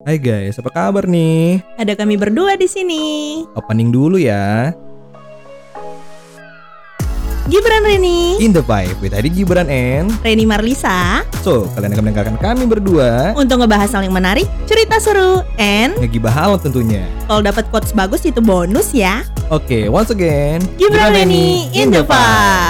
Hai guys, apa kabar nih? Ada kami berdua di sini. Opening dulu ya. Gibran Reni, In the Vibe with Adi Gibran and Reni Marlisa, So, kalian akan mendengarkan kami berdua untuk ngebahas hal yang menarik, cerita seru, and ngegibah hal tentunya. kalau dapat quotes bagus itu bonus ya. Oke, once again, Gibran Reni in the Vibe.